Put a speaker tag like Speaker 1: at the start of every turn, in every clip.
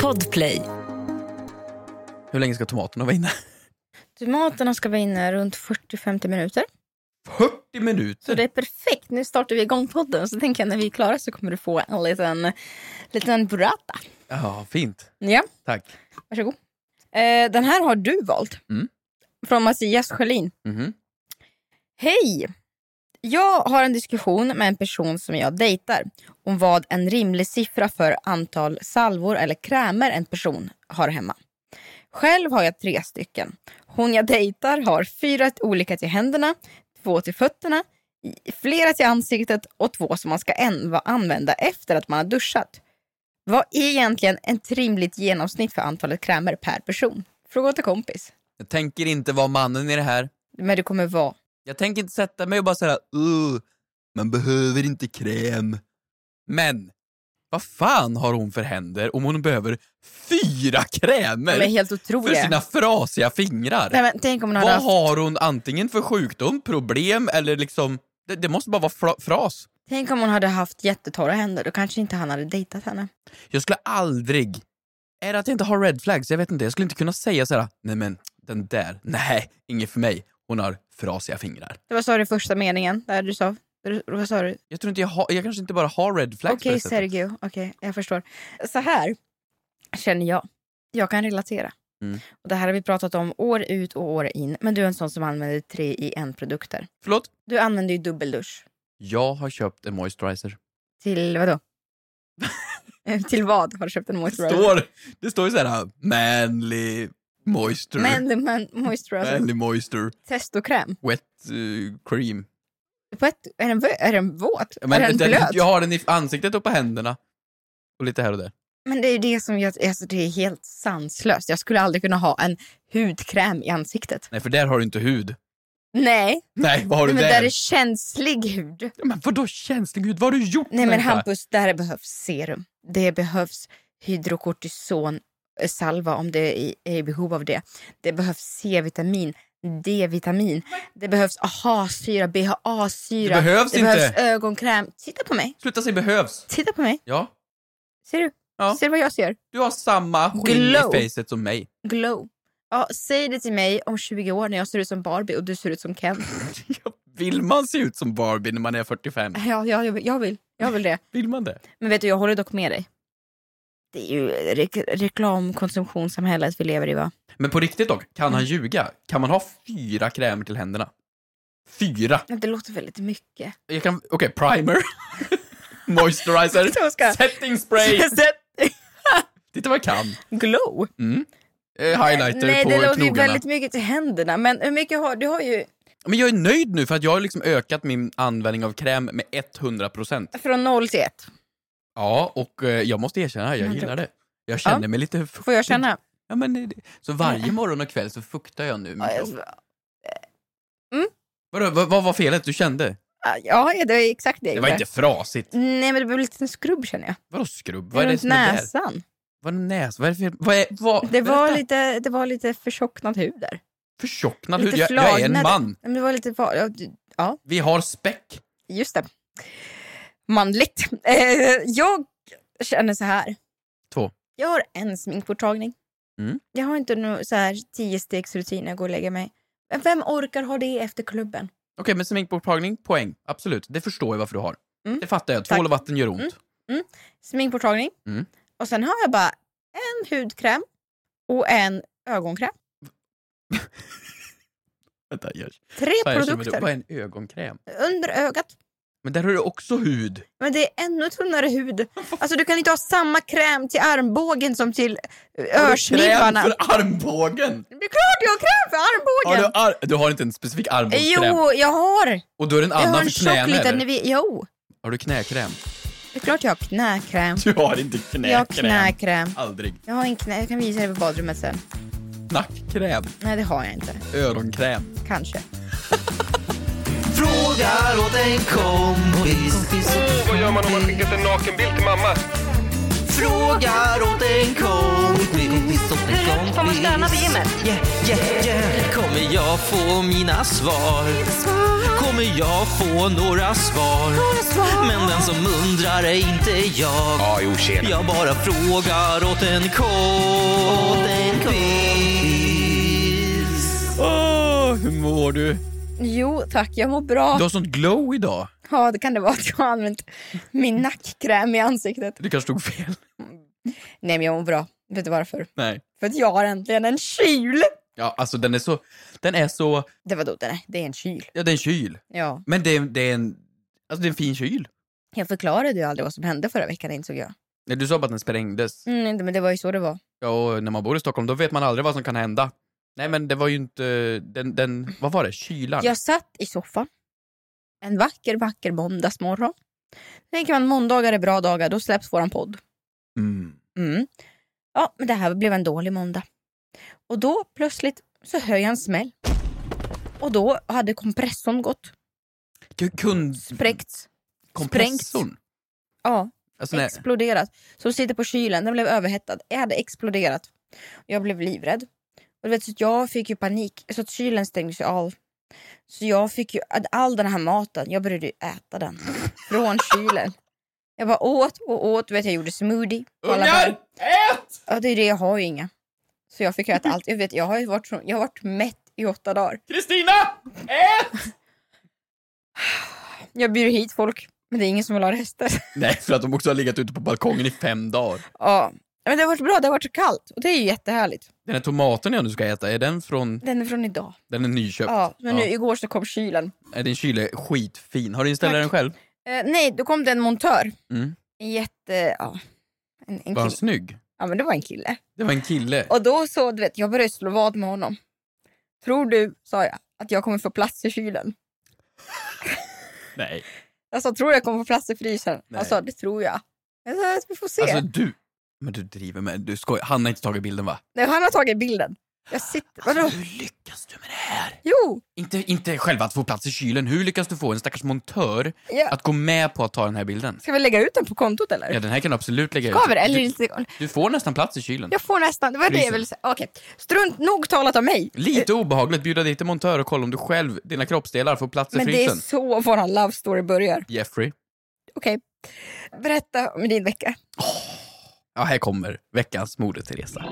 Speaker 1: Podplay.
Speaker 2: Hur länge ska tomaterna vara inne?
Speaker 3: Tomaterna ska vara inne runt 40-50 minuter.
Speaker 2: 40
Speaker 3: Så
Speaker 2: minuter?
Speaker 3: det är perfekt. Nu startar vi igång podden. Så tänker jag när vi är klara så kommer du få en liten, liten burrata.
Speaker 2: Ja, fint.
Speaker 3: Ja,
Speaker 2: Tack.
Speaker 3: varsågod. Eh, den här har du valt.
Speaker 2: Mm.
Speaker 3: Från Mattias Sjölin.
Speaker 2: Mhm.
Speaker 3: Hej! Jag har en diskussion med en person som jag dejtar om vad en rimlig siffra för antal salvor eller krämer en person har hemma. Själv har jag tre stycken. Hon jag dejtar har fyra olika till händerna, två till fötterna, i- flera till ansiktet och två som man ska en- va- använda efter att man har duschat. Vad är egentligen ett rimligt genomsnitt för antalet krämer per person? Fråga till kompis.
Speaker 2: Jag tänker inte vara mannen i det här.
Speaker 3: Men det kommer vara
Speaker 2: Jag tänker inte sätta mig och bara säga uh, man behöver inte kräm. Men, vad fan har hon för händer om hon behöver fyra
Speaker 3: de är
Speaker 2: krämer
Speaker 3: helt
Speaker 2: för
Speaker 3: otroliga.
Speaker 2: sina frasiga fingrar?
Speaker 3: Nej, men tänk om hon hade
Speaker 2: Vad
Speaker 3: haft
Speaker 2: har hon antingen för sjukdom, problem eller liksom... Det, det måste bara vara fra- fras.
Speaker 3: Tänk om hon hade haft jättetorra händer, då kanske inte han hade dejtat henne.
Speaker 2: Jag skulle aldrig... Är det att jag inte har red flags? Jag vet inte. Jag skulle inte kunna säga så här. nej men den där, nej, inget för mig. Hon har frasiga fingrar.
Speaker 3: Det var så du första meningen, där du sa. där du- Vad sa du?
Speaker 2: Jag tror inte jag har, jag kanske inte bara har red flags på
Speaker 3: Okej
Speaker 2: det sättet.
Speaker 3: Sergio, okej jag förstår. Så här känner jag. Jag kan relatera.
Speaker 2: Mm.
Speaker 3: Och det här har vi pratat om år ut och år in. Men du är en sån som använder tre i en produkter.
Speaker 2: Förlåt?
Speaker 3: Du använder ju dubbeldusch.
Speaker 2: Jag har köpt en moisturizer.
Speaker 3: Till vadå? Eh, till vad har du köpt en
Speaker 2: Det
Speaker 3: moisturizer?
Speaker 2: står, det står ju så här, manly moisture.
Speaker 3: Men, men moisturizer.
Speaker 2: Manly moisture.
Speaker 3: Testokräm.
Speaker 2: Wet eh, cream.
Speaker 3: På ett, är, den, vö- är den våt?
Speaker 2: Men
Speaker 3: är den
Speaker 2: den-
Speaker 3: blöt?
Speaker 2: jag har den i ansiktet och på händerna. Och lite här och där.
Speaker 3: Men det är ju det som jag, alltså det är helt sanslöst. Jag skulle aldrig kunna ha en hudkräm i ansiktet.
Speaker 2: Nej, för där har du inte hud.
Speaker 3: Nej,
Speaker 2: Nej, vad har du
Speaker 3: men
Speaker 2: där?
Speaker 3: där är känslig hud.
Speaker 2: Ja, Men vadå känslig hud? Vad har du gjort?
Speaker 3: Nej men
Speaker 2: människa?
Speaker 3: Hampus, där behövs serum. Det behövs hydrokortison eh, salva om det är i- är i behov av det. Det behövs C-vitamin, D-vitamin. Det behövs AHA-syra, BHA-syra.
Speaker 2: Det behövs inte.
Speaker 3: behövs ögonkräm. Titta på mig.
Speaker 2: Sluta säga behövs.
Speaker 3: Titta på mig.
Speaker 2: Ja.
Speaker 3: Ser du?
Speaker 2: Ja.
Speaker 3: Ser du vad jag ser?
Speaker 2: Du har samma skinn
Speaker 3: Glow.
Speaker 2: i facet som mig.
Speaker 3: Glow. Ja, säg det till mig om 20 år när jag ser ut som Barbie och du ser ut som Ken.
Speaker 2: Vill man se ut som Barbie när man är 45?
Speaker 3: Ja, ja, jag, vill, jag, vill, jag vill det.
Speaker 2: Vill man det?
Speaker 3: Men vet du, jag håller dock med dig. Det är ju re- reklamkonsumtionssamhället vi lever i va?
Speaker 2: Men på riktigt dock, kan han ljuga? Kan man ha fyra krämer till händerna? Fyra?
Speaker 3: Det låter väldigt mycket.
Speaker 2: Jag kan... Okej, primer. Moisturizer.
Speaker 3: Så ska-
Speaker 2: Setting spray.
Speaker 3: Sätt-
Speaker 2: Titta vad jag kan.
Speaker 3: Glow?
Speaker 2: Mm. Eh, highlighter
Speaker 3: Nej,
Speaker 2: på
Speaker 3: det låter ju
Speaker 2: knogarna.
Speaker 3: väldigt mycket till händerna. Men hur mycket har du? har ju
Speaker 2: Men jag är nöjd nu för att jag har liksom ökat min användning av kräm med 100%.
Speaker 3: från 0 till 1.
Speaker 2: Ja, och eh, jag måste erkänna, jag
Speaker 3: Men
Speaker 2: gillar det. Jag känner mig lite fuktig.
Speaker 3: Får jag känna?
Speaker 2: Ja, men det, det- så varje morgon och kväll så fuktar jag nu min
Speaker 3: Ja,
Speaker 2: kropp.
Speaker 3: jag-
Speaker 2: Vadå, vad, vad var felet du kände?
Speaker 3: Ja, det är exakt det.
Speaker 2: Det var inte frasigt.
Speaker 3: Nej, men det blev lite en skrubb känner jag.
Speaker 2: Vadå skrubb? Vad är det
Speaker 3: Runt
Speaker 2: som är där?
Speaker 3: näsan.
Speaker 2: Vad är näs? Vad är det för... Vad är, vad,
Speaker 3: Det var,
Speaker 2: berätta.
Speaker 3: lite, det var lite förtjocknad hud där.
Speaker 2: Förtjocknad
Speaker 3: lite
Speaker 2: hud. Jag, jag är en
Speaker 3: flagnade.
Speaker 2: man.
Speaker 3: Men det var lite var- ja, d- Ja,
Speaker 2: Vi har späck.
Speaker 3: just det. Manligt. Eh, jag känner så här.
Speaker 2: Två.
Speaker 3: Jag har en sminkborttagning.
Speaker 2: Mm.
Speaker 3: Jag har inte någon så här tio stegs rutin när jag går och lägger mig. Men Vem orkar ha det efter klubben?
Speaker 2: Okej, men sminkborttagning, poäng. Absolut. Det förstår jag varför du har.
Speaker 3: Mm.
Speaker 2: Det fattar jag.
Speaker 3: Tack.
Speaker 2: Tvål och vatten gör ont.
Speaker 3: Mm. Sminkborttagning.
Speaker 2: Mm.
Speaker 3: Och sen har jag bara en hudkräm och en ögonkräm.
Speaker 2: Vänta, jag,
Speaker 3: Tre
Speaker 2: fan, jag känner mig dum.
Speaker 3: produkter
Speaker 2: Vad är en ögonkräm?
Speaker 3: under ögat.
Speaker 2: Men där har du också hud.
Speaker 3: Men det är ännu tunnare hud. Alltså du kan inte ha samma kräm till armbågen som till eh,
Speaker 2: Har du
Speaker 3: örsnibbarna.
Speaker 2: Kräm för armbågen.
Speaker 3: Det är klart jag har kräm för
Speaker 2: Har du,
Speaker 3: armbågen!
Speaker 2: ar- du har inte en specifik armbågskräm?
Speaker 3: jo, jag har!
Speaker 2: Och då är det en
Speaker 3: Jag har
Speaker 2: annan
Speaker 3: en
Speaker 2: för knäna
Speaker 3: tjock liten...
Speaker 2: eller?
Speaker 3: vi- Jo,
Speaker 2: Har du knäkräm?
Speaker 3: det är klart jag har knäkräm.
Speaker 2: Du har inte
Speaker 3: Jag har
Speaker 2: knäkräm.
Speaker 3: knäkräm.
Speaker 2: Aldrig.
Speaker 3: Jag har en knä... Jag kan visa dig på badrummet sen.
Speaker 2: Nackkräm.
Speaker 3: Nej, det har jag inte.
Speaker 2: Öronkräm.
Speaker 3: Kanske.
Speaker 4: Frågar åt en kompis.
Speaker 5: Åh, vad gör man om man skickat en nakenbild till mamma?
Speaker 4: Frågar åt en kompis. Åt en kompis.
Speaker 1: får man stöna på gymmet?
Speaker 4: Yeah, yeah, yeah. Kommer jag få mina svar? Kommer jag få några svar? Men den som undrar är inte jag.
Speaker 5: Ja, jo, tjena.
Speaker 4: Jag bara frågar åt en kompis.
Speaker 2: Åh, hur mår du?
Speaker 3: Jo tack, jag mår bra.
Speaker 2: Du har sånt glow idag.
Speaker 3: Ja, det kan det vara att jag har använt min nackkräm i ansiktet.
Speaker 2: Du kanske stod fel.
Speaker 3: Nej men jag mår bra. Vet du varför?
Speaker 2: Nej.
Speaker 3: För att jag har äntligen en kyl!
Speaker 2: Ja, alltså den är så... Den är så...
Speaker 3: Det var då, nej, det är en kyl.
Speaker 2: Ja, det är en kyl.
Speaker 3: Ja.
Speaker 2: Men det är, det är en... Alltså det är en fin kyl.
Speaker 3: Jag förklarade ju aldrig vad som hände förra veckan insåg jag.
Speaker 2: Nej, Du sa bara att den sprängdes.
Speaker 3: Mm, nej, men det var ju så det var.
Speaker 2: Ja, och när man bor i Stockholm då vet man aldrig vad som kan hända. Nej men det var ju inte... Den... den vad var det? Kylan?
Speaker 3: Jag satt i soffan en vacker, vacker måndagsmorgon. Tänker man måndagar är bra dagar, då släpps våran podd.
Speaker 2: Mm.
Speaker 3: Mm. Ja, men det här blev en dålig måndag. Och då plötsligt så hör jag en smäll. Och då hade kompressorn gått,
Speaker 2: K- Kund...
Speaker 3: spräckts,
Speaker 2: Kompressorn?
Speaker 3: ja,
Speaker 2: Alltså, nej.
Speaker 3: exploderat. Så sitter på kylen, den blev överhettad. Jag hade exploderat. Jag blev livrädd. Och du vet, så att jag fick ju panik, så att kylen stängdes ju av. Så jag fick ju all den här maten, jag började ju äta den från kylen. Jag bara åt och åt, du vet jag gjorde smoothie. på alla bär.
Speaker 2: Ungar! Ät!
Speaker 3: Ja, det är det. Jag har ju inga. Så jag fick äta allt. Jag, vet, jag, har ju varit, så- jag har varit mätt i åtta dagar.
Speaker 2: Kristina! Ät!
Speaker 3: Jag bjuder hit folk, men det är ingen som vill ha rester.
Speaker 2: Nej, för att de också har legat ute på balkongen i fem dagar.
Speaker 3: Ja. Men det har varit bra, det har varit så kallt. Och det är ju jättehärligt.
Speaker 2: Den här tomaten jag nu ska äta, är den från...
Speaker 3: Den är från idag.
Speaker 2: Den är nyköpt?
Speaker 3: Ja, men nu igår så kom kylen.
Speaker 2: Är din kyl är skitfin. Har du installerat
Speaker 3: Tack.
Speaker 2: den själv?
Speaker 3: Eh, nej, då kom det en montör.
Speaker 2: Mm.
Speaker 3: En jätte... Ja. En, en
Speaker 2: Var han
Speaker 3: kille.
Speaker 2: snygg?
Speaker 3: Ja, men det var en kille.
Speaker 2: Det var en kille.
Speaker 3: Och då så, du vet, jag började slå vad med honom. Tror du, sa jag, att jag kommer få plats i kylen?
Speaker 2: Nej.
Speaker 3: Jag sa, tror du jag kommer få plats i frysen?
Speaker 2: Nej.
Speaker 3: Han sa, det tror jag. Jag sa, vi får se.
Speaker 2: Alltså du... Men du driver med... Du skojar. Han har inte tagit bilden va? Alltså,
Speaker 3: Nej, han har tagit bilden. Jag sitter... Vadå?
Speaker 2: Hur lyckas du med det här?
Speaker 3: Jo!
Speaker 2: Inte, inte själva att få plats i kylen. Hur lyckas du få en stackars montör
Speaker 3: Ja.
Speaker 2: att gå med på att ta den här bilden?
Speaker 3: Ska vi lägga ut den på kontot eller?
Speaker 2: Ja, den här kan du absolut lägga
Speaker 3: Ska vi det?
Speaker 2: ut.
Speaker 3: Eller
Speaker 2: Du,
Speaker 3: inte?
Speaker 2: du får nästan plats i kylen.
Speaker 3: Jag får nästan... Det var det jag
Speaker 2: Frysen.
Speaker 3: ville säga. Okej. Strunt nog talat om mig.
Speaker 2: Lite obehagligt bjuda dit en montör och kolla om du själv, dina kroppsdelar, får plats i
Speaker 3: Men det är
Speaker 2: frysen.
Speaker 3: så våran love story börjar.
Speaker 2: Jeffrey.
Speaker 3: Okej. Berätta om din vecka.
Speaker 2: Ja, här kommer veckans Moder Teresa.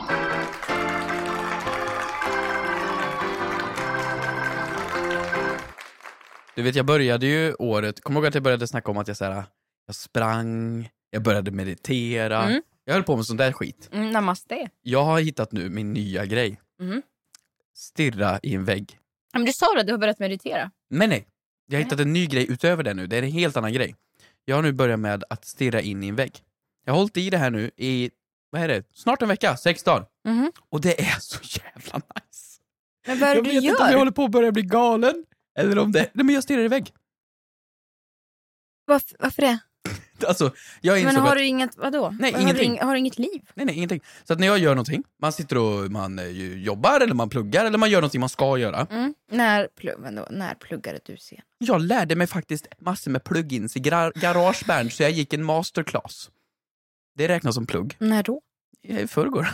Speaker 2: Du vet, jag började ju året, kommer du ihåg att jag började snacka om att jag så här, jag sprang, jag började meditera.
Speaker 3: Mm.
Speaker 2: Jag höll på med sån där skit.
Speaker 3: Mm, namaste.
Speaker 2: Jag har hittat nu min nya grej.
Speaker 3: Mm.
Speaker 2: Stirra i en vägg.
Speaker 3: Men du sa det, du har börjat meditera.
Speaker 2: Nej, nej. Jag har hittat en ny grej utöver det nu. Det är en helt annan grej. Jag har nu börjat med att stirra in i en vägg. Jag har hållit i det här nu i, vad är det, snart en vecka, sex dagar.
Speaker 3: Mhm.
Speaker 2: Och det är så jävla nice.
Speaker 3: Men vad är det
Speaker 2: jag
Speaker 3: du
Speaker 2: vet inte om jag
Speaker 3: gör?
Speaker 2: håller på att börja bli galen. Eller om det, nej men jag stirrar i vägg.
Speaker 3: Varför, varför det?
Speaker 2: Alltså, jag
Speaker 3: Men
Speaker 2: insåg
Speaker 3: har
Speaker 2: att,
Speaker 3: du inget... Vadå?
Speaker 2: Nej,
Speaker 3: har, du
Speaker 2: ingenting.
Speaker 3: ing, har du inget liv?
Speaker 2: nej nej ingenting. Så att när jag gör någonting, man sitter och man eh, ju jobbar eller man pluggar eller man gör någonting man ska göra.
Speaker 3: Mm. När, plugg, vadå? när pluggade du sen?
Speaker 2: Jag lärde mig faktiskt massor med plugins i gra- garageband så jag gick en masterclass. Det räknas som plugg.
Speaker 3: När då?
Speaker 2: I förrgår.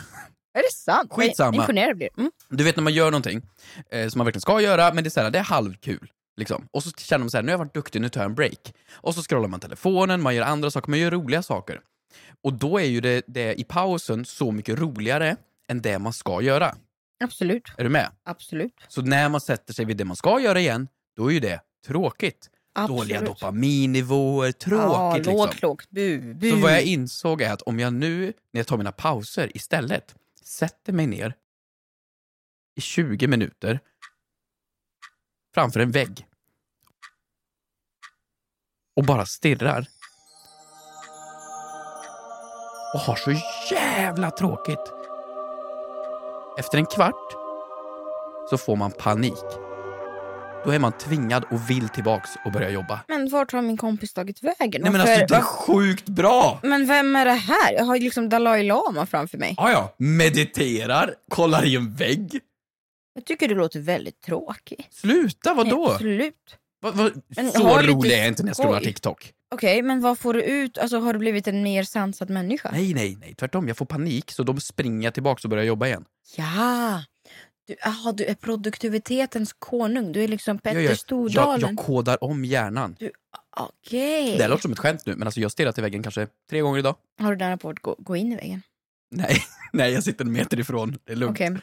Speaker 3: Är det sant?
Speaker 2: Skitsamma.
Speaker 3: Imponerad blir mm.
Speaker 2: Du vet när man gör någonting eh, som man verkligen ska göra, men det är, så här, det är halvkul. Liksom. Och så känner man så här, nu har jag varit duktig, nu tar jag en break. Och så scrollar man telefonen, man gör andra saker, man gör roliga saker. Och då är ju det, det i pausen så mycket roligare än det man ska göra.
Speaker 3: Absolut.
Speaker 2: Är du med?
Speaker 3: Absolut.
Speaker 2: Så när man sätter sig vid det man ska göra igen, då är ju det tråkigt.
Speaker 3: Absolut.
Speaker 2: Dåliga dopaminnivåer, tråkigt
Speaker 3: Ja, lågt,
Speaker 2: liksom.
Speaker 3: lågt. Bu, bu.
Speaker 2: Så vad jag insåg är att om jag nu, när jag tar mina pauser istället, sätter mig ner i 20 minuter framför en vägg och bara stirrar och har så jävla tråkigt. Efter en kvart så får man panik. Då är man tvingad och vill tillbaks och börja jobba.
Speaker 3: Men vart har min kompis tagit vägen?
Speaker 2: Nej men
Speaker 3: Varför-
Speaker 2: alltså det är
Speaker 3: var-
Speaker 2: sjukt bra!
Speaker 3: men vem är det här? Jag har ju liksom Dalai Lama framför mig.
Speaker 2: Ah, ja. mediterar, kollar i en vägg.
Speaker 3: Jag tycker du låter väldigt tråkig.
Speaker 2: Sluta, vadå?
Speaker 3: Absolut.
Speaker 2: Va, va,
Speaker 3: Men
Speaker 2: så
Speaker 3: ha lite
Speaker 2: rolig är jag inte när jag scrollar
Speaker 3: skoj.
Speaker 2: TikTok.
Speaker 3: Okej, men vad får du ut? Alltså har du blivit en mer sansad människa?
Speaker 2: Nej, nej, nej. Tvärtom. Jag får panik, så de springer jag tillbaka och börjar jobba igen.
Speaker 3: Ja! Du, aha, du är produktivitetens konung. Du är liksom Petter
Speaker 2: jag, jag,
Speaker 3: Stordalen.
Speaker 2: jag kodar om hjärnan.
Speaker 3: Okej.
Speaker 2: Det här låter som ett skämt nu, men alltså jag stirrar till väggen kanske tre gånger idag.
Speaker 3: Har du den rapport gå, gå in i väggen?
Speaker 2: Nej, nej jag sitter en meter ifrån. Det är lugnt.
Speaker 3: Okej.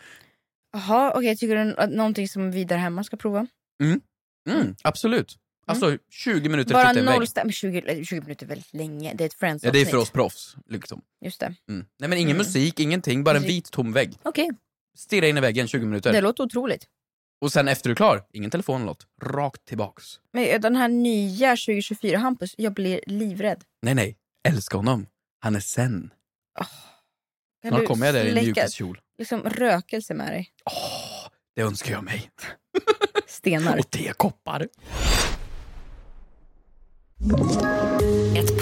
Speaker 3: Jaha, okej. Tycker du att någonting som vi där hemma ska prova?
Speaker 2: Mm, absolut. Alltså 20 minuter
Speaker 3: Bara
Speaker 2: titta i en
Speaker 3: noll
Speaker 2: vägg.
Speaker 3: stäm... 20, 20 minuter är väldigt länge. Det är ett friends
Speaker 2: Ja, det är för oss proffs. Liksom.
Speaker 3: Just det.
Speaker 2: Mm. Nej, men ingen
Speaker 3: Mm.
Speaker 2: musik, ingenting. Bara en
Speaker 3: Musik.
Speaker 2: vit tom vägg.
Speaker 3: Okej,
Speaker 2: Stirra in i väggen 20 minuter.
Speaker 3: det låter otroligt.
Speaker 2: Och sen efter du är klar, ingen telefon eller något. Rakt tillbaks.
Speaker 3: Men eh, den här nya 2024 Hampus, jag blir livrädd.
Speaker 2: Nej, nej. Älska honom. Han är sen.
Speaker 3: Kan
Speaker 2: Snart
Speaker 3: du
Speaker 2: kommer jag där i en
Speaker 3: släcka-
Speaker 2: mjukiskjol.
Speaker 3: Liksom rökelse med dig.
Speaker 2: Åh, det önskar jag mig.
Speaker 3: Stenar.
Speaker 2: Och tekoppar.
Speaker 1: Ett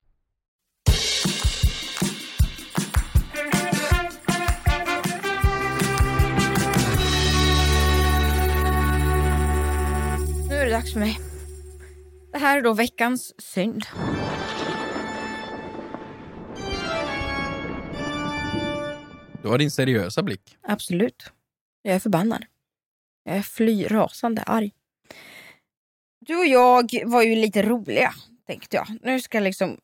Speaker 3: Nu är det dags för mig. Det här är då veckans synd.
Speaker 2: Du har din seriösa blick.
Speaker 3: Absolut. Jag är förbannad. Jag är fly rasande arg. Du och jag var ju lite roliga, tänkte jag. Nu ska liksom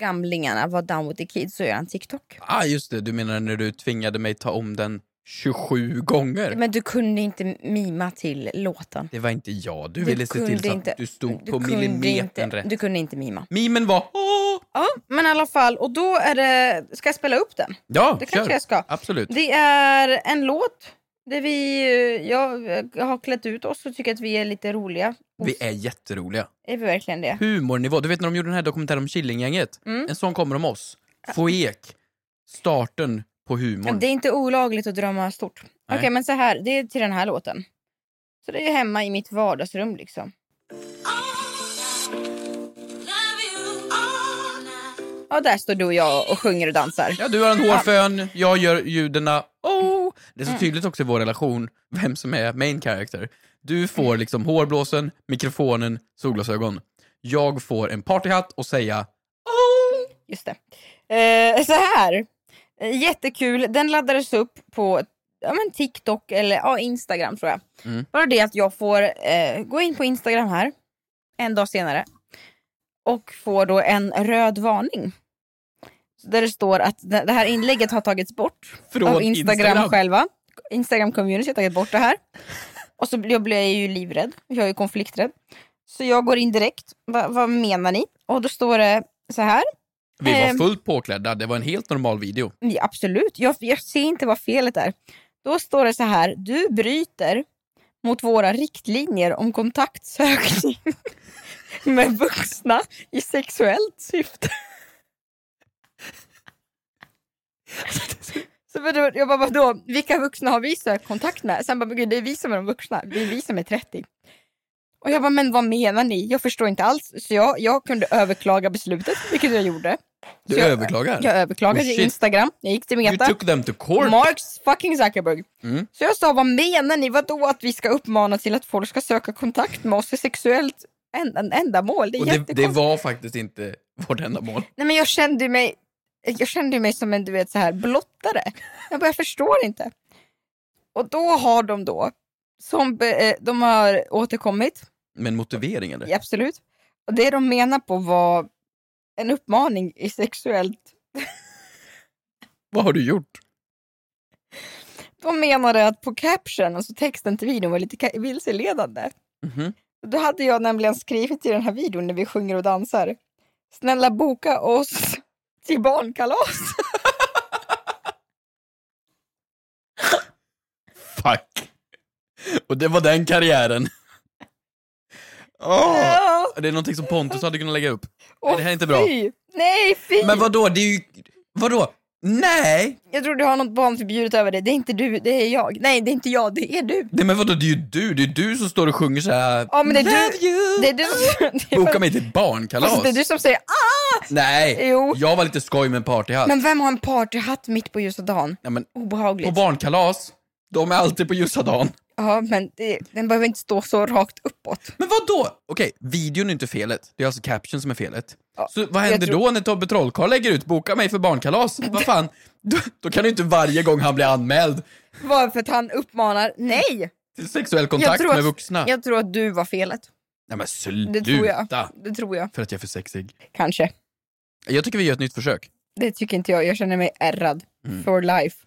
Speaker 3: gamlingarna vara down with the kids och göra en TikTok.
Speaker 2: Ah, just det. Du menar när du tvingade mig ta om den 27 gånger?
Speaker 3: Men du kunde inte mima till låten.
Speaker 2: Det var inte jag. Du,
Speaker 3: Du
Speaker 2: ville se
Speaker 3: kunde
Speaker 2: till så att
Speaker 3: inte-
Speaker 2: du stod
Speaker 3: Du
Speaker 2: på
Speaker 3: kunde
Speaker 2: millimetern
Speaker 3: inte,
Speaker 2: rätt.
Speaker 3: Du kunde inte mima.
Speaker 2: Mimen var... Åh!
Speaker 3: Ja, men i alla fall. Och då är det... Ska jag spela upp den?
Speaker 2: Ja,
Speaker 3: Det
Speaker 2: kör.
Speaker 3: kanske jag ska.
Speaker 2: Absolut.
Speaker 3: Det är en låt där vi... eh, Jag jag har klätt ut oss och tycker att vi är lite roliga. Och
Speaker 2: Vi är jätteroliga.
Speaker 3: Är vi verkligen det?
Speaker 2: Humornivå. Du vet när de gjorde den här dokumentären om Killinggänget?
Speaker 3: Mm.
Speaker 2: En sån kommer om oss. Foek. Starten på humorn.
Speaker 3: Det är inte olagligt att drömma stort.
Speaker 2: Nej.
Speaker 3: Okej, men så här. Det är till den här låten. Så det är hemma i mitt vardagsrum liksom. Ja, där står du och jag och sjunger och dansar.
Speaker 2: Ja, du har en hårfön, jag gör ljudena
Speaker 3: Mm.
Speaker 2: oh. Det är så tydligt också i vår relation vem som är main character. Du får
Speaker 3: Mm.
Speaker 2: liksom hårblåsen, mikrofonen, solglasögon. Jag får en partyhatt och säga
Speaker 3: Just det. Eh, så här. Eh, Jättekul. Den laddades upp på ja, men TikTok eller ja, Instagram tror jag.
Speaker 2: Mm.
Speaker 3: Bara det att jag får eh, gå in på Instagram här en dag senare och får då en röd varning. Där det står att det det här inlägget har tagits bort
Speaker 2: Från
Speaker 3: av Instagram,
Speaker 2: Instagram.
Speaker 3: själva. Instagram community har tagit bort det här. Och så blir jag blir jag ju livrädd. Jag är ju konflikträdd. Så jag går in direkt. Va, vad menar ni? Och då står det så här.
Speaker 2: vi var
Speaker 3: Ehm.
Speaker 2: fullt påklädda, det var en helt normal video.
Speaker 3: Ja, absolut, jag, jag ser inte vad felet är. Då står det så här, du bryter mot våra riktlinjer om kontaktsökning med vuxna i sexuellt syfte. Så vadå? jag bara, vadå, vilka vuxna har vi sökt kontakt med? Sen bara, men gud, det är vi som är de vuxna, det är vi som är 30. Och jag bara, men vad menar ni? Jag förstår inte alls. Så jag, jag kunde överklaga beslutet, vilket jag gjorde.
Speaker 2: Du
Speaker 3: Så jag,
Speaker 2: överklagar.
Speaker 3: jag överklagade
Speaker 2: Oh, shit.
Speaker 3: till Instagram, jag gick till
Speaker 2: you
Speaker 3: Meta.
Speaker 2: took them to court.
Speaker 3: Marks fucking Zuckerberg.
Speaker 2: Mm.
Speaker 3: Så jag sa, vad menar ni? Vadå att vi ska uppmana till att folk ska söka kontakt med oss för sexuellt än- ändamål? Det är
Speaker 2: och det, det
Speaker 3: jättekonstigt.
Speaker 2: var faktiskt inte vårt enda mål.
Speaker 3: Nej men jag kände ju mig, jag kände ju mig som en du vet så här blottare. Jag bara, jag förstår inte. Och då har de då, som be, eh, de har återkommit,
Speaker 2: Men motivering eller?
Speaker 3: ja, absolut. Och det de menar på var en uppmaning i sexuellt
Speaker 2: Vad har du gjort?
Speaker 3: De menade att på caption, alltså texten till videon, var lite ka- vilseledande.
Speaker 2: Mhm.
Speaker 3: Då hade jag nämligen skrivit i den här videon när vi sjunger och dansar. Snälla boka oss till barnkalas.
Speaker 2: Fuck. Och det var den karriären. Åh.
Speaker 3: Ja.
Speaker 2: Det är någonting som Pontus hade kunnat lägga upp.
Speaker 3: Åh,
Speaker 2: det här är inte bra.
Speaker 3: Fy. Nej fy!
Speaker 2: Men vad då? det är ju... Vadå? Nej!
Speaker 3: Jag tror du har något barnförbjudet över dig. Det är inte du, det är jag. Nej det är inte jag, det är du.
Speaker 2: Nej men vadå, det är ju du, det är du som står och sjunger så här.
Speaker 3: Ja men det är
Speaker 2: Love
Speaker 3: du.
Speaker 2: you.
Speaker 3: Det är du som... det är-
Speaker 2: Boka mig till ett barnkalas.
Speaker 3: Alltså, det är du som säger ah!
Speaker 2: Nej,
Speaker 3: Jo.
Speaker 2: jag var lite skoj med en partyhatt.
Speaker 3: Men vem har en partyhatt mitt på ljusa dagen?
Speaker 2: Ja, men
Speaker 3: Obehagligt.
Speaker 2: på barnkalas, de är alltid på ljusa dagen.
Speaker 3: Ja, men det, den behöver inte stå så rakt uppåt.
Speaker 2: Men vad då? Okej, videon är inte felet. Det är alltså caption som är felet.
Speaker 3: Ja,
Speaker 2: så vad händer
Speaker 3: tror-
Speaker 2: då när Tobbe Trollkarl lägger ut “boka mig för barnkalas”? vad fan? Då, då kan det ju inte varje gång han blir anmäld
Speaker 3: Bara för att han uppmanar, nej!
Speaker 2: till sexuell kontakt med
Speaker 3: att,
Speaker 2: vuxna.
Speaker 3: jag tror att du var felet.
Speaker 2: Nej men
Speaker 3: Det tror jag.
Speaker 2: sluta!
Speaker 3: Det tror jag,
Speaker 2: För att jag är för sexig.
Speaker 3: kanske.
Speaker 2: Jag tycker vi gör ett nytt försök.
Speaker 3: Det tycker inte jag, jag känner mig ärrad.
Speaker 2: Mm.
Speaker 3: For life.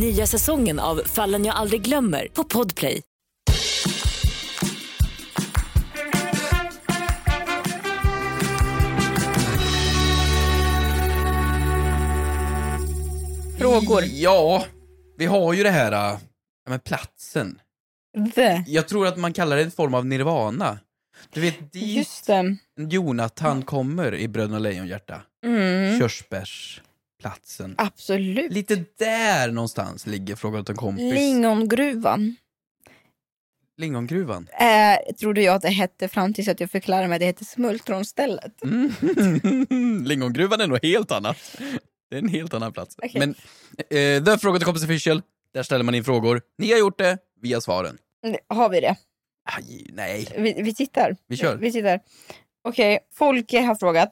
Speaker 6: Nya säsongen av Fallen jag aldrig glömmer på Podplay.
Speaker 3: Frågor.
Speaker 2: Ja, vi har ju det här äh, ja, men platsen.
Speaker 3: The.
Speaker 2: Jag tror att man kallar det en form av nirvana. Du vet, dit
Speaker 3: Just det.
Speaker 2: Jonathan kommer i Bröderna Lejonhjärta.
Speaker 3: Mm.
Speaker 2: Körsbärsplatsen.
Speaker 3: Absolut.
Speaker 2: Lite där någonstans ligger Fråga åt en kompis.
Speaker 3: Lingongruvan
Speaker 2: Lingongruvan.
Speaker 3: eh, trodde jag att det hette fram tills att jag förklarade mig att det hette smultronstället.
Speaker 2: Mm. Lingongruvan är nog helt annat. Det är en helt annan plats.
Speaker 3: Okej.
Speaker 2: Men eh, The Fråga åt en kompis official, där ställer man in frågor. Ni har gjort det, vi har svaren.
Speaker 3: Mm, Har vi det?
Speaker 2: Aj, nej,
Speaker 3: Vi, vi tittar.
Speaker 2: vi kör.
Speaker 3: Vi tittar. Okej, Folke har frågat.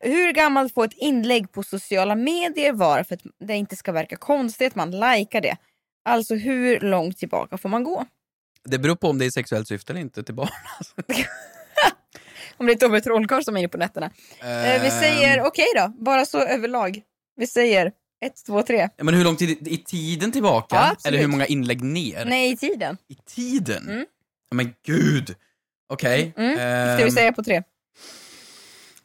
Speaker 3: Hur gammalt får ett inlägg på sociala medier vara för att det inte ska verka konstigt att man likar det? Alltså hur långt tillbaka får man gå?
Speaker 2: Det beror på om det är sexuellt syfte eller inte till barn. alltså.
Speaker 3: Om det är Tobbe Trollkarl som är inne på nätterna. Eh, vi säger,
Speaker 2: Ehm,
Speaker 3: okej då, bara så överlag. Vi säger ett, två, tre.
Speaker 2: Ehm, Men hur lång tid i tiden tillbaka?
Speaker 3: Ja, absolut.
Speaker 2: eller hur många inlägg ner?
Speaker 3: Nej, i tiden.
Speaker 2: I tiden?
Speaker 3: Mm.
Speaker 2: Ja, Men gud! Okej.
Speaker 3: Mm.
Speaker 2: ehm,
Speaker 3: Ska vi säga på tre?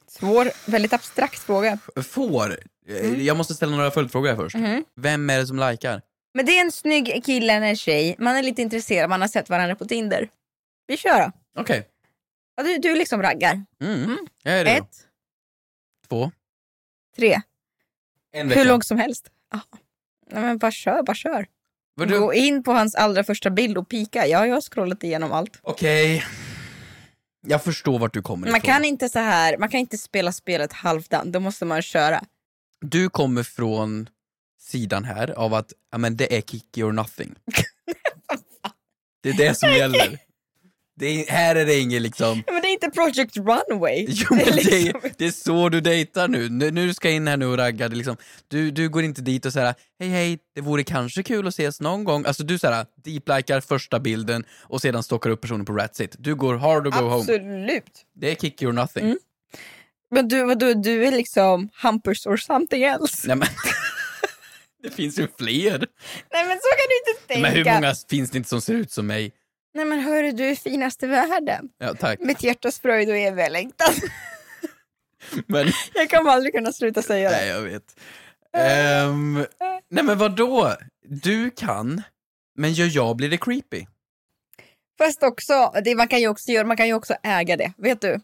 Speaker 3: Svår, väldigt abstrakt fråga.
Speaker 2: Får? Eh,
Speaker 3: Mm.
Speaker 2: Jag måste ställa några följdfrågor här först.
Speaker 3: Mhm.
Speaker 2: Vem är det som likar?
Speaker 3: Men det är en snygg kille eller en tjej, man är lite intresserad, man har sett varandra på Tinder. Vi kör då.
Speaker 2: Okej.
Speaker 3: Ja, du, du liksom raggar.
Speaker 2: Mm.
Speaker 3: Mm.
Speaker 2: Jag är det då.
Speaker 3: Ett,
Speaker 2: Två.
Speaker 3: tre,
Speaker 2: En
Speaker 3: hur långt som helst. Ja. Nej, men bara kör, bara kör.
Speaker 2: Var du-
Speaker 3: Gå in på hans allra första bild och pika. Ja, jag har scrollat igenom allt.
Speaker 2: Okej. Jag förstår vart du kommer
Speaker 3: Man
Speaker 2: ifrån.
Speaker 3: kan inte så här, man kan inte spela spelet halvdant, då måste man köra.
Speaker 2: Du kommer från sidan här av att ja, men det är kicky or nothing. det är det som gäller. Det är, här är det ingen liksom...
Speaker 3: Men det är inte Project Runway.
Speaker 2: Jo, men det,
Speaker 3: liksom-
Speaker 2: är, det är så du dejtar nu. Nu, nu ska jag in här nu och ragga. Det är liksom, du, du går inte dit och säger hej hej, det vore kanske kul att ses någon gång. Alltså du såhär, deeplikar första bilden och sedan stockar upp personen på Ratsit. Du går hard or go home.
Speaker 3: Absolut. Mm.
Speaker 2: Det är kick or nothing.
Speaker 3: Men du, vadå, du är liksom Hampus or something else.
Speaker 2: Nej, men, det finns ju fler.
Speaker 3: Nej men så kan du inte tänka.
Speaker 2: Men hur många finns det inte som ser ut som mig?
Speaker 3: Nej men hörru, du är finast i världen.
Speaker 2: Ja, tack.
Speaker 3: Mitt hjärtas fröjd och eviga längtan.
Speaker 2: Men,
Speaker 3: Jag kommer aldrig kunna sluta säga det.
Speaker 2: nej, jag vet. Ehm, nej, men vadå? Du kan, men gör jag blir det creepy?
Speaker 3: Fast också, det man, kan ju också göra, man kan ju också äga det, vet du?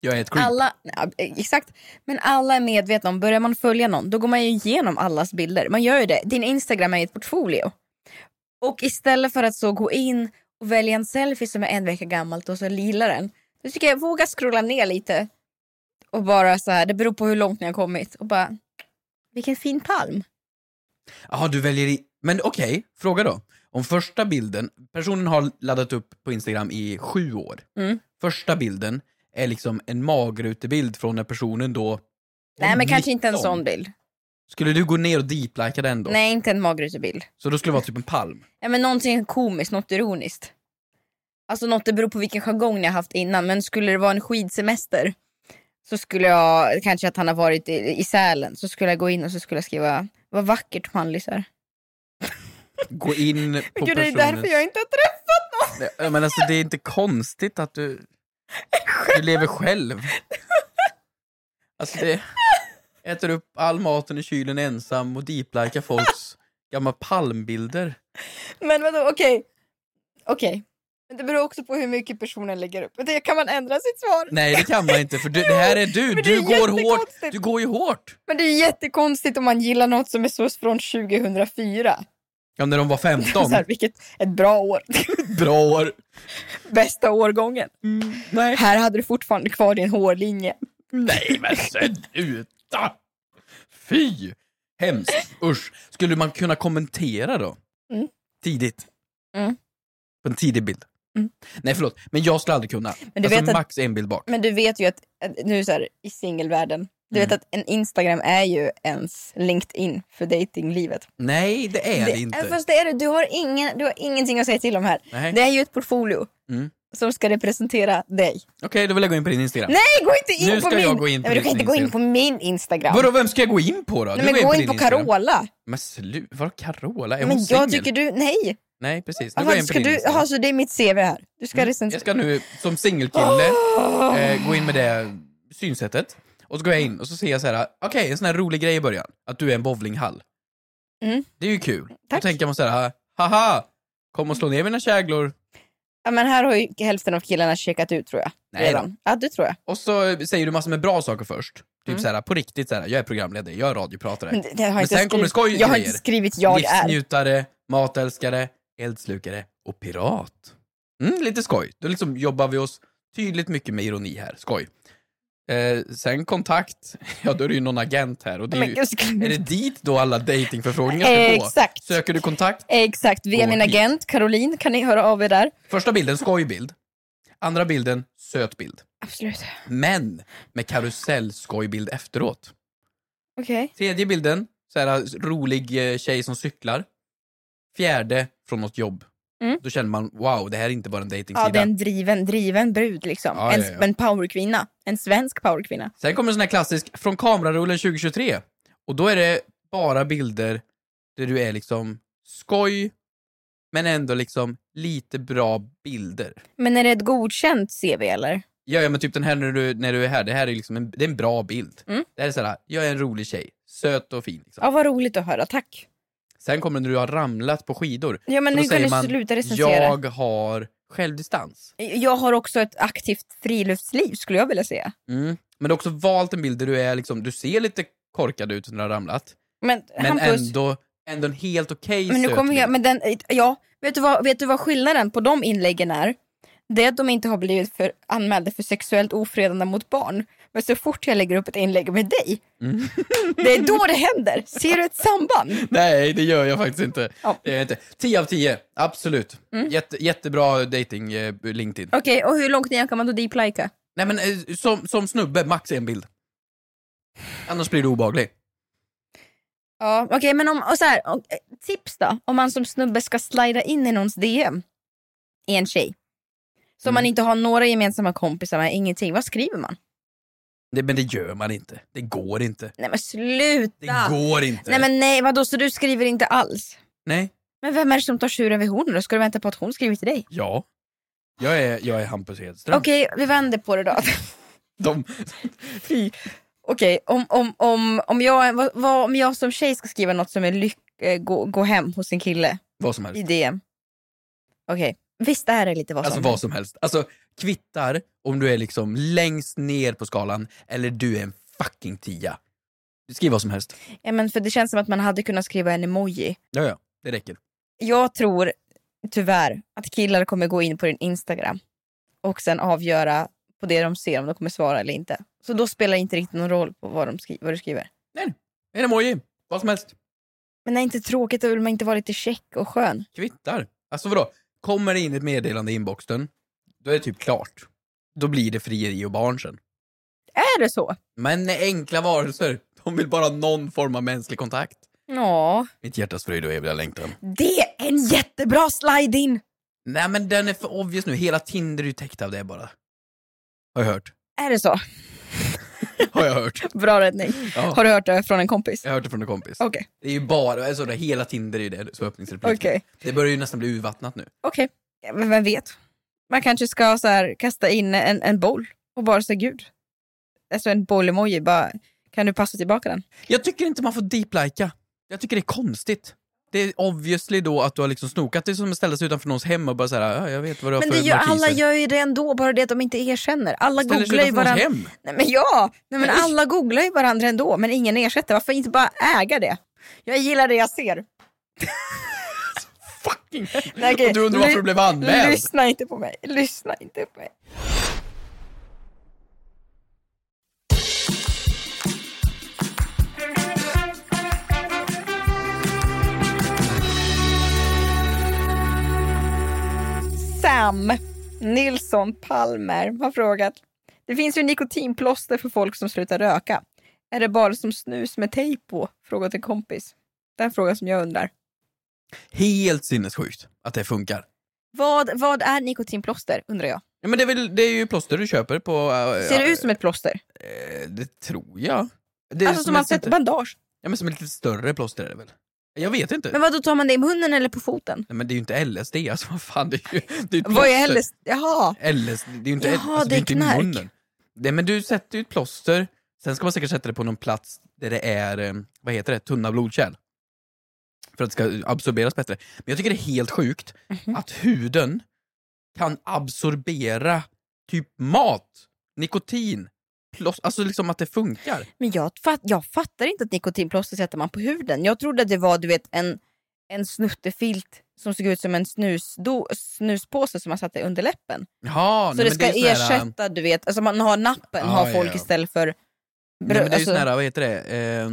Speaker 2: Jag är ett creep.
Speaker 3: Alla, ja, exakt, men alla är medvetna om, börjar man följa någon då går man ju igenom allas bilder. Man gör ju det, din Instagram är ju ett portfolio. Och istället för att så gå in och välja en selfie som är en vecka gammalt och så gilla den. Då tycker jag, våga scrolla ner lite. Och bara så här, det beror på hur långt ni har kommit. Och bara, vilken fin palm.
Speaker 2: Jaha, du väljer i... Men okej, fråga då. Om första bilden, personen har laddat upp på Instagram i sju år.
Speaker 3: Mm.
Speaker 2: Första bilden är liksom en magrutebild från när personen då...
Speaker 3: Nej men kanske inte en
Speaker 2: 19.
Speaker 3: sån bild.
Speaker 2: Skulle du gå ner och deeplika den då?
Speaker 3: Nej inte en magrutebild.
Speaker 2: Så då skulle det vara typ en palm?
Speaker 3: Ja, men någonting komiskt, något ironiskt. Alltså något det beror på vilken jargong ni har haft innan men skulle det vara en skidsemester så skulle jag, kanske att han har varit i, i Sälen, så skulle jag gå in och så skulle jag skriva vad vackert manlisar.
Speaker 2: Gå in på
Speaker 3: Gud, det är
Speaker 2: personens...
Speaker 3: därför jag inte har träffat någon.
Speaker 2: Nej, Men alltså det är inte konstigt att du... Du lever själv. Alltså det... Äter upp all maten i kylen ensam och deeplikar folks gamla palmbilder.
Speaker 3: Men vadå, okej. Okej. Men det beror också på hur mycket personen lägger upp. Det kan man ändra sitt svar.
Speaker 2: Nej det kan man inte för du, det här är du.
Speaker 3: Men det
Speaker 2: Du
Speaker 3: är
Speaker 2: går hårt.
Speaker 3: jättekonstigt.
Speaker 2: Du går ju hårt.
Speaker 3: Men det är jättekonstigt om man gillar något som är så från 2004.
Speaker 2: Ja när de var 15.
Speaker 3: Så här, vilket, ett bra år.
Speaker 2: Bra år.
Speaker 3: Bästa årgången.
Speaker 2: Nej.
Speaker 3: Här hade du fortfarande kvar din hårlinje.
Speaker 2: Nej men sluta! Fy! Hemskt, usch. Skulle man kunna kommentera då?
Speaker 3: Mm.
Speaker 2: Tidigt?
Speaker 3: Mm.
Speaker 2: På en tidig bild?
Speaker 3: Mm.
Speaker 2: Nej förlåt, men jag skulle aldrig kunna.
Speaker 3: Men du
Speaker 2: alltså
Speaker 3: vet att-
Speaker 2: max en bild bak.
Speaker 3: Men du vet ju att, att nu så här, i singelvärlden, du
Speaker 2: Mm.
Speaker 3: vet att en Instagram är ju ens LinkedIn för datinglivet.
Speaker 2: Nej det är det,
Speaker 3: Även
Speaker 2: inte.
Speaker 3: Fast det är det, du har, ingen, du har ingenting att säga till om här.
Speaker 2: Nej.
Speaker 3: Det är ju ett portfolio
Speaker 2: Mm.
Speaker 3: som ska representera dig.
Speaker 2: Okej, då vill jag gå in på din Instagram.
Speaker 3: Nej, gå inte in
Speaker 2: Nu
Speaker 3: på
Speaker 2: ska
Speaker 3: min!
Speaker 2: jag gå in på
Speaker 3: Nej, men du kan
Speaker 2: din
Speaker 3: inte gå in på
Speaker 2: Instagram.
Speaker 3: min Instagram.
Speaker 2: Vadå, vem ska jag gå in på då? Du
Speaker 3: Nej, men
Speaker 2: går
Speaker 3: gå
Speaker 2: på
Speaker 3: in
Speaker 2: din
Speaker 3: på
Speaker 2: Instagram.
Speaker 3: Carola.
Speaker 2: Men sluta, vadå Carola? Är
Speaker 3: Men
Speaker 2: hon
Speaker 3: jag
Speaker 2: singel?
Speaker 3: tycker du, nej.
Speaker 2: Nej precis, nu går jag
Speaker 3: Aha,
Speaker 2: in på
Speaker 3: ska
Speaker 2: din
Speaker 3: du,
Speaker 2: Instagram.
Speaker 3: aha, så det är mitt CV här. Du ska recensera.
Speaker 2: Mm. Jag ska nu som singelkille
Speaker 3: Ah!
Speaker 2: eh, gå in med det synsättet. Och så går jag in och så ser jag så här, okej en sån här rolig grej i början. Att du är en bowlinghall.
Speaker 3: Mm.
Speaker 2: Det är ju kul. Då
Speaker 3: Tack.
Speaker 2: tänker man så här, haha, kom och slå ner mina käglor.
Speaker 3: Ja, men här har ju hälften av killarna checkat ut tror jag.
Speaker 2: Nej
Speaker 3: redan. Ja, det tror jag.
Speaker 2: Och så säger du massor med bra saker först. Typ så här, på riktigt så här, jag är programledare, jag är radiopratare.
Speaker 3: Mm. Men, det, det har jag
Speaker 2: Men
Speaker 3: inte
Speaker 2: sen kommer det
Speaker 3: skrivit-
Speaker 2: skoj
Speaker 3: Jag har inte
Speaker 2: grejer.
Speaker 3: skrivit jag är.
Speaker 2: Livsnjutare, matälskare, eldslukare och pirat. Mm, lite skoj. Då liksom jobbar vi oss tydligt mycket med ironi här. Skoj. Eh, sen kontakt, ja då är det ju någon agent här. Och det är,
Speaker 3: Men
Speaker 2: ju,
Speaker 3: gud, skriv-
Speaker 2: är det dit då alla datingförfrågningar ska gå?
Speaker 3: Exakt.
Speaker 2: Söker du kontakt?
Speaker 3: Exakt, via
Speaker 2: Gå
Speaker 3: min
Speaker 2: hit.
Speaker 3: agent Caroline kan ni höra av er där.
Speaker 2: Första bilden, skojbild. Andra bilden, söt bild.
Speaker 3: Absolut.
Speaker 2: Men med karusellskojbild efteråt.
Speaker 3: Okej.
Speaker 2: Tredje bilden, så här, rolig eh, tjej som cyklar. Fjärde, från något jobb.
Speaker 3: Mm.
Speaker 2: Då känner man, wow, det här är inte bara en dejtingsida.
Speaker 3: Ja, det är en driven, driven brud liksom.
Speaker 2: Ja,
Speaker 3: en,
Speaker 2: ja, ja.
Speaker 3: en powerkvinna. En svensk powerkvinna.
Speaker 2: Sen kommer en sån här klassisk, från kamerarullen 2023. Och då är det bara bilder där du är liksom skoj, men ändå liksom lite bra bilder.
Speaker 3: Men är det ett godkänt CV eller?
Speaker 2: Ja, ja men typ den här när du, när du är här, det här är liksom en, det är en bra bild.
Speaker 3: Mm.
Speaker 2: Det här är såhär, jag är en rolig tjej, söt och fin. Liksom.
Speaker 3: Ja, vad roligt att höra. Tack.
Speaker 2: Sen kommer det när du har ramlat på skidor.
Speaker 3: Ja, men nu
Speaker 2: Då
Speaker 3: kan
Speaker 2: säger
Speaker 3: du
Speaker 2: man,
Speaker 3: sluta recensera.
Speaker 2: Jag har självdistans.
Speaker 3: Jag har också ett aktivt friluftsliv skulle jag vilja säga.
Speaker 2: Mm. Men du har också valt en bild där du är liksom, du ser lite korkad ut när du har ramlat.
Speaker 3: Men,
Speaker 2: Men
Speaker 3: Hampus,
Speaker 2: ändå, ändå en helt okej
Speaker 3: men nu
Speaker 2: söt
Speaker 3: kommer
Speaker 2: bild.
Speaker 3: jag, men den, ja, vet du, vad, vet du vad skillnaden på de inläggen är? Det är att de inte har blivit för, anmälda för sexuellt ofredande mot barn. Men så fort jag lägger upp ett inlägg med dig,
Speaker 2: Mm.
Speaker 3: det är då det händer. Ser du ett samband?
Speaker 2: Nej, det gör jag faktiskt inte.
Speaker 3: Ja.
Speaker 2: Det gör jag inte. 10 av 10, absolut.
Speaker 3: Mm.
Speaker 2: Jätte, jättebra dating eh, LinkedIn.
Speaker 3: Okej, och hur långt ner kan man då deep-lika?
Speaker 2: Nej men eh, som, som snubbe, max en bild. Annars blir du obehaglig.
Speaker 3: Ja, okej, men om, och så här, och, eh, tips då? Om man som snubbe ska slida in i någons DM i en tjej. Som man
Speaker 2: Mm.
Speaker 3: inte har några gemensamma kompisar med, ingenting. Vad skriver man?
Speaker 2: Det, men det gör man inte. Det går inte.
Speaker 3: Nej men
Speaker 2: Det
Speaker 3: sluta!
Speaker 2: går inte.
Speaker 3: Nej men nej, vadå så du skriver inte alls?
Speaker 2: Nej.
Speaker 3: Men vem är det som tar tjuren vid hornen då? Ska du vänta på att hon skriver till dig?
Speaker 2: Ja. Jag är, jag är Hampus Hedström.
Speaker 3: Okej, vi vänder på det då.
Speaker 2: De,
Speaker 3: Fy. Okej, om, om, om, om, jag, vad, vad, om jag som tjej ska skriva något som är lyck, eh, gå, gå hem hos en kille
Speaker 2: vad som
Speaker 3: i
Speaker 2: helst.
Speaker 3: DM. Okej, visst det här är lite vad som
Speaker 2: Alltså vad som helst. Alltså kvittar om du är liksom längst ner på skalan eller du är en fucking tia. Skriv vad som helst.
Speaker 3: Ja, men för det känns som att man hade kunnat skriva en emoji.
Speaker 2: Ja, ja. Det räcker.
Speaker 3: Jag tror tyvärr att killar kommer gå in på din Instagram och sen avgöra på det de ser om de kommer svara eller inte. Så då spelar det inte riktigt någon roll på vad, de skri- vad du skriver.
Speaker 2: En emoji. Vad som helst.
Speaker 3: Men är inte tråkigt, då vill man inte vara lite check och skön.
Speaker 2: kvittar. Alltså vadå? Kommer det in ett meddelande i inboxen, då är det typ klart. Då blir det frieri och barn sen.
Speaker 3: Är det så?
Speaker 2: Men enkla varelser, de vill bara ha någon form av mänsklig kontakt.
Speaker 3: Ja,
Speaker 2: Mitt hjärtas fröjd och eviga längtan.
Speaker 3: det är en jättebra slide-in!
Speaker 2: Nej men den är för obvious nu, hela Tinder är ju täckt av det bara. Har jag hört.
Speaker 3: Är det så?
Speaker 2: har jag hört.
Speaker 3: Bra räddning.
Speaker 2: Ja.
Speaker 3: Har du hört det från en kompis?
Speaker 2: Jag har hört det från en kompis.
Speaker 3: Okej.
Speaker 2: Det är ju bara, alltså det, hela Tinder är ju det som öppningsreplik.
Speaker 3: Okej.
Speaker 2: Det börjar ju nästan bli urvattnat nu.
Speaker 3: Okej, Ja, men vem vet? Man kanske ska så här, kasta in en, en boll och bara säga gud. Alltså en boll-emoji, bara kan du passa tillbaka den?
Speaker 2: Jag tycker inte man får deep-lika. Jag tycker det är konstigt. Det är obviously då att du har liksom snokat dig som att ställa sig utanför någons hem och bara såhär, ja, jag vet vad du har
Speaker 3: Men
Speaker 2: för
Speaker 3: det gör,
Speaker 2: markiser."
Speaker 3: alla gör ju det ändå, bara det att de inte erkänner. Alla
Speaker 2: Ställer sig
Speaker 3: googlar ju
Speaker 2: utanför någons
Speaker 3: varandra.
Speaker 2: hem.
Speaker 3: Nej, men ja, nej, men alla googlar ju varandra ändå, men ingen ersätter. Varför inte bara äga det? Jag gillar det jag ser.
Speaker 2: Fucking.
Speaker 3: Nej, okej.
Speaker 2: Och du undrar varför du blev anmäld.
Speaker 3: Lyssna inte på mig. Lyssna inte på mig. Sam Nilsson Palmer har frågat. Det finns ju nikotinplåster för folk som slutar röka. Är det bara som snus med tejp på? Frågat en kompis. Det är en fråga som jag undrar.
Speaker 2: Helt sinnessjukt att det funkar.
Speaker 3: Vad, vad är nikotinplåster undrar jag?
Speaker 2: Ja, men det, är väl, det är ju plåster du köper på... eh,
Speaker 3: Ser
Speaker 2: ja,
Speaker 3: det ut som ett plåster?
Speaker 2: eh, Det tror jag. Det är
Speaker 3: alltså som man
Speaker 2: ett
Speaker 3: sätter
Speaker 2: lite,
Speaker 3: bandage.
Speaker 2: ja, men som ett lite större plåster är det väl? Jag vet inte.
Speaker 3: Men vad då tar man det i munnen eller på foten?
Speaker 2: Nej, men det är ju inte LSD alltså, vad fan. Det är ju, det är ju ett
Speaker 3: Vad är
Speaker 2: plåster.
Speaker 3: LSD? Jaha.
Speaker 2: LSD, det är ju inte,
Speaker 3: Jaha,
Speaker 2: alltså, det
Speaker 3: det
Speaker 2: är
Speaker 3: är
Speaker 2: inte i
Speaker 3: knark.
Speaker 2: munnen. Nej, men du sätter ju ett plåster, sen ska man säkert sätta det på någon plats där det är, eh, vad heter det, tunna blodkärl. För att det ska absorberas bättre. Men jag tycker det är helt sjukt
Speaker 3: Mhm.
Speaker 2: att huden kan absorbera typ mat, nikotin, plåster, alltså liksom att det funkar.
Speaker 3: Men jag, fatt, jag fattar inte att nikotinplåster sätter man på huden. Jag trodde att det var du vet, en, en snuttefilt som såg ut som en snusdo, snuspåse som man satte under läppen.
Speaker 2: Jaha,
Speaker 3: så
Speaker 2: nej,
Speaker 3: det
Speaker 2: men
Speaker 3: ska
Speaker 2: är sån här, eh,
Speaker 3: ersätta, du vet, alltså man har nappen,
Speaker 2: Ah,
Speaker 3: har
Speaker 2: ja,
Speaker 3: folk
Speaker 2: ja.
Speaker 3: istället för...
Speaker 2: Nej, men det är ju
Speaker 3: alltså-
Speaker 2: såna här, vad heter det, eh,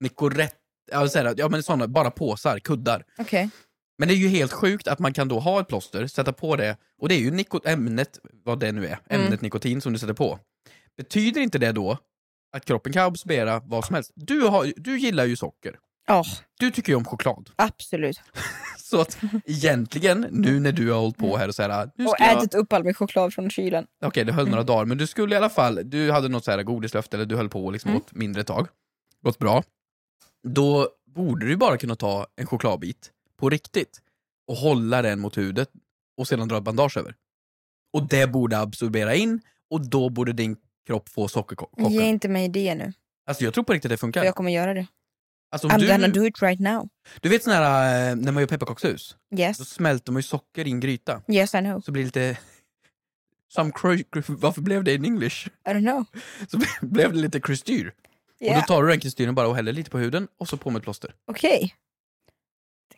Speaker 2: Nicorette, ja, så här, ja men såna, bara påsar, kuddar.
Speaker 3: Okej.
Speaker 2: Men det är ju helt sjukt att man kan då ha ett plåster, sätta på det, och det är ju niko- ämnet, vad det nu är, ämnet nikotin som du sätter på. Betyder inte det då att kroppen kan absorbera vad som helst? Du, har, du gillar ju socker,
Speaker 3: Ja,
Speaker 2: du tycker ju om choklad.
Speaker 3: absolut.
Speaker 2: Så att egentligen, nu när du har hållit på här och så här, nu ska
Speaker 3: Och
Speaker 2: jag...
Speaker 3: ätit upp all min choklad från kylen.
Speaker 2: Okej, det höll
Speaker 3: Mm.
Speaker 2: några dagar, men du skulle i alla fall, du hade något så här godislöfte eller du höll på och liksom
Speaker 3: Mm.
Speaker 2: åt mindre ett tag, gått bra. Då borde du bara kunna ta en chokladbit på riktigt och hålla den mot hudet och sedan dra ett bandage över. Och det borde absorbera in och då borde din kropp få sockerchocken.
Speaker 3: Ge inte mig det nu,
Speaker 2: Alltså jag tror på riktigt det
Speaker 3: för
Speaker 2: funkar.
Speaker 3: jag kommer göra det.
Speaker 2: Alltså, om
Speaker 3: I'm gonna
Speaker 2: du,
Speaker 3: do it right now.
Speaker 2: du vet sån här, eh, när man gör pepparkakshus, då
Speaker 3: Yes,
Speaker 2: smälter man ju socker i en gryta.
Speaker 3: yes I know.
Speaker 2: Så blir det lite... Some cro- Varför blev det in English?
Speaker 3: I don't know.
Speaker 2: Så blev det lite kristyr. Och
Speaker 3: Yeah.
Speaker 2: då tar du den kristyren bara och häller lite på huden och så på med ett plåster.
Speaker 3: Okej.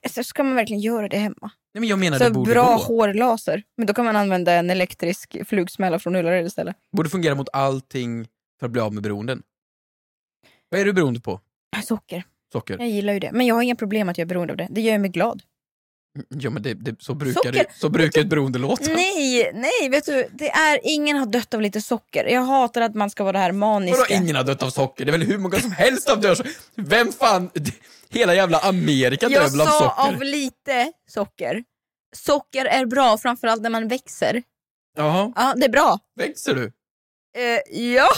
Speaker 3: Alltså, ska man verkligen göra det hemma?
Speaker 2: Nej men jag menar det
Speaker 3: så
Speaker 2: borde
Speaker 3: bra
Speaker 2: gå.
Speaker 3: hårlaser. Men då kan man använda en elektrisk flugsmälla från Ullared istället.
Speaker 2: borde fungera mot allting för att bli av med beroenden. Vad är du beroende på?
Speaker 3: Ah, Socker.
Speaker 2: Socker?
Speaker 3: Jag gillar ju det. Men jag har inga problem att jag är beroende av det. Det gör mig glad.
Speaker 2: Mm, Ja men det, det, så brukar, det,
Speaker 3: Socker?
Speaker 2: så brukar ett beroende
Speaker 3: Alltså.
Speaker 2: låta.
Speaker 3: Nej, nej, vet du. Det är, ingen har dött av lite socker. Jag hatar att man ska vara det här maniska.
Speaker 2: Vadå ingen har dött av socker? Det är väl hur många som helst som dör så- Vem fan? Hela jävla Amerika dör
Speaker 3: jag
Speaker 2: väl av
Speaker 3: sa
Speaker 2: socker?
Speaker 3: av lite socker. Socker är bra, framförallt när man växer.
Speaker 2: Jaha,
Speaker 3: Ja, det är bra.
Speaker 2: växer du?
Speaker 3: Eh, ja,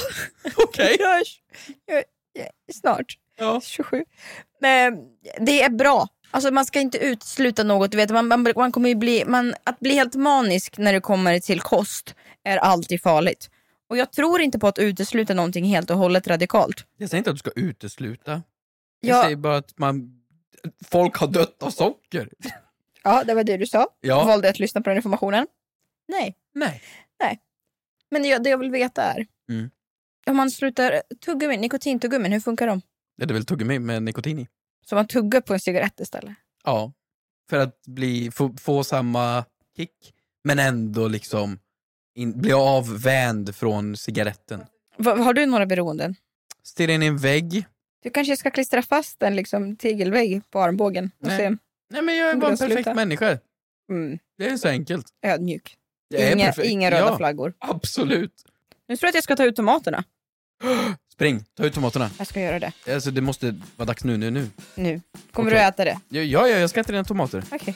Speaker 2: Okej.
Speaker 3: jag är, jag är, jag är snart.
Speaker 2: Ja.
Speaker 3: 27. Men det är bra. Alltså man ska inte utesluta något. Du vet, man, man, man kommer ju bli, man, att bli helt manisk när det kommer till kost är alltid farligt. Och jag tror inte på att utesluta någonting helt och hållet radikalt.
Speaker 2: Jag säger inte att du ska utesluta. Jag
Speaker 3: Ja,
Speaker 2: säger bara att man... Folk har dött av socker.
Speaker 3: ja, det var det du sa.
Speaker 2: Ja.
Speaker 3: Valde att lyssna på den informationen. Nej,
Speaker 2: Nej.
Speaker 3: men det, det jag vill veta är.
Speaker 2: Mm.
Speaker 3: Om man slutar tuggummin, nikotintuggummin, hur funkar de?
Speaker 2: Det är väl tuggummi med nikotin i?
Speaker 3: Så man tuggar på en cigarett istället?
Speaker 2: Ja, för att bli, få, få samma kick, men ändå liksom in, bli avvänd från cigaretten.
Speaker 3: Va, har du några beroenden?
Speaker 2: Stirra in i en vägg.
Speaker 3: Du kanske ska klistra fast en liksom, tegelvägg på armbågen och
Speaker 2: Nej.
Speaker 3: se.
Speaker 2: Nej men jag är
Speaker 3: Borde
Speaker 2: bara en
Speaker 3: jag
Speaker 2: perfekt
Speaker 3: sluta?
Speaker 2: människa.
Speaker 3: Mm,
Speaker 2: Det är så enkelt.
Speaker 3: ödmjuk.
Speaker 2: Jag är
Speaker 3: inga,
Speaker 2: perfekt.
Speaker 3: inga röda
Speaker 2: ja,
Speaker 3: flaggor.
Speaker 2: Absolut.
Speaker 3: Nu tror jag att jag ska ta ut tomaterna.
Speaker 2: Spring, ta ut tomaterna.
Speaker 3: Jag ska göra det.
Speaker 2: Alltså det måste vara dags nu, nu, nu.
Speaker 3: Nu. Kommer
Speaker 2: Okej.
Speaker 3: du äta det?
Speaker 2: Ja, ja, ja, jag ska äta dina tomater.
Speaker 3: Okej.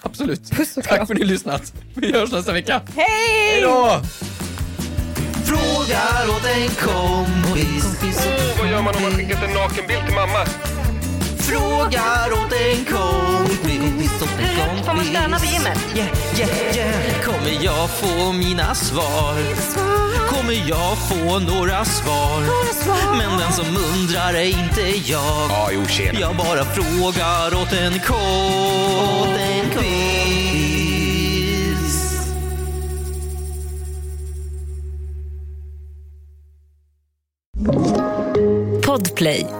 Speaker 2: Absolut.
Speaker 3: Puss och
Speaker 2: Tack för
Speaker 3: kram.
Speaker 2: att ni har lyssnat. Vi hörs nästa vecka.
Speaker 3: Hej!
Speaker 2: Hej då!
Speaker 4: frågar åt en kompis.
Speaker 7: Åh, vad gör man om man skickat en nakenbild till mamma?
Speaker 4: Frågar åt en kompis. Åt en kompis.
Speaker 8: Får man stöna på gymmet?
Speaker 4: Yeah, yeah, yeah. Kommer jag få mina svar? Kommer jag få några svar? Men den som undrar är inte jag.
Speaker 7: Ja, jo, tjena.
Speaker 4: Jag bara frågar åt en kompis.
Speaker 6: Podplay.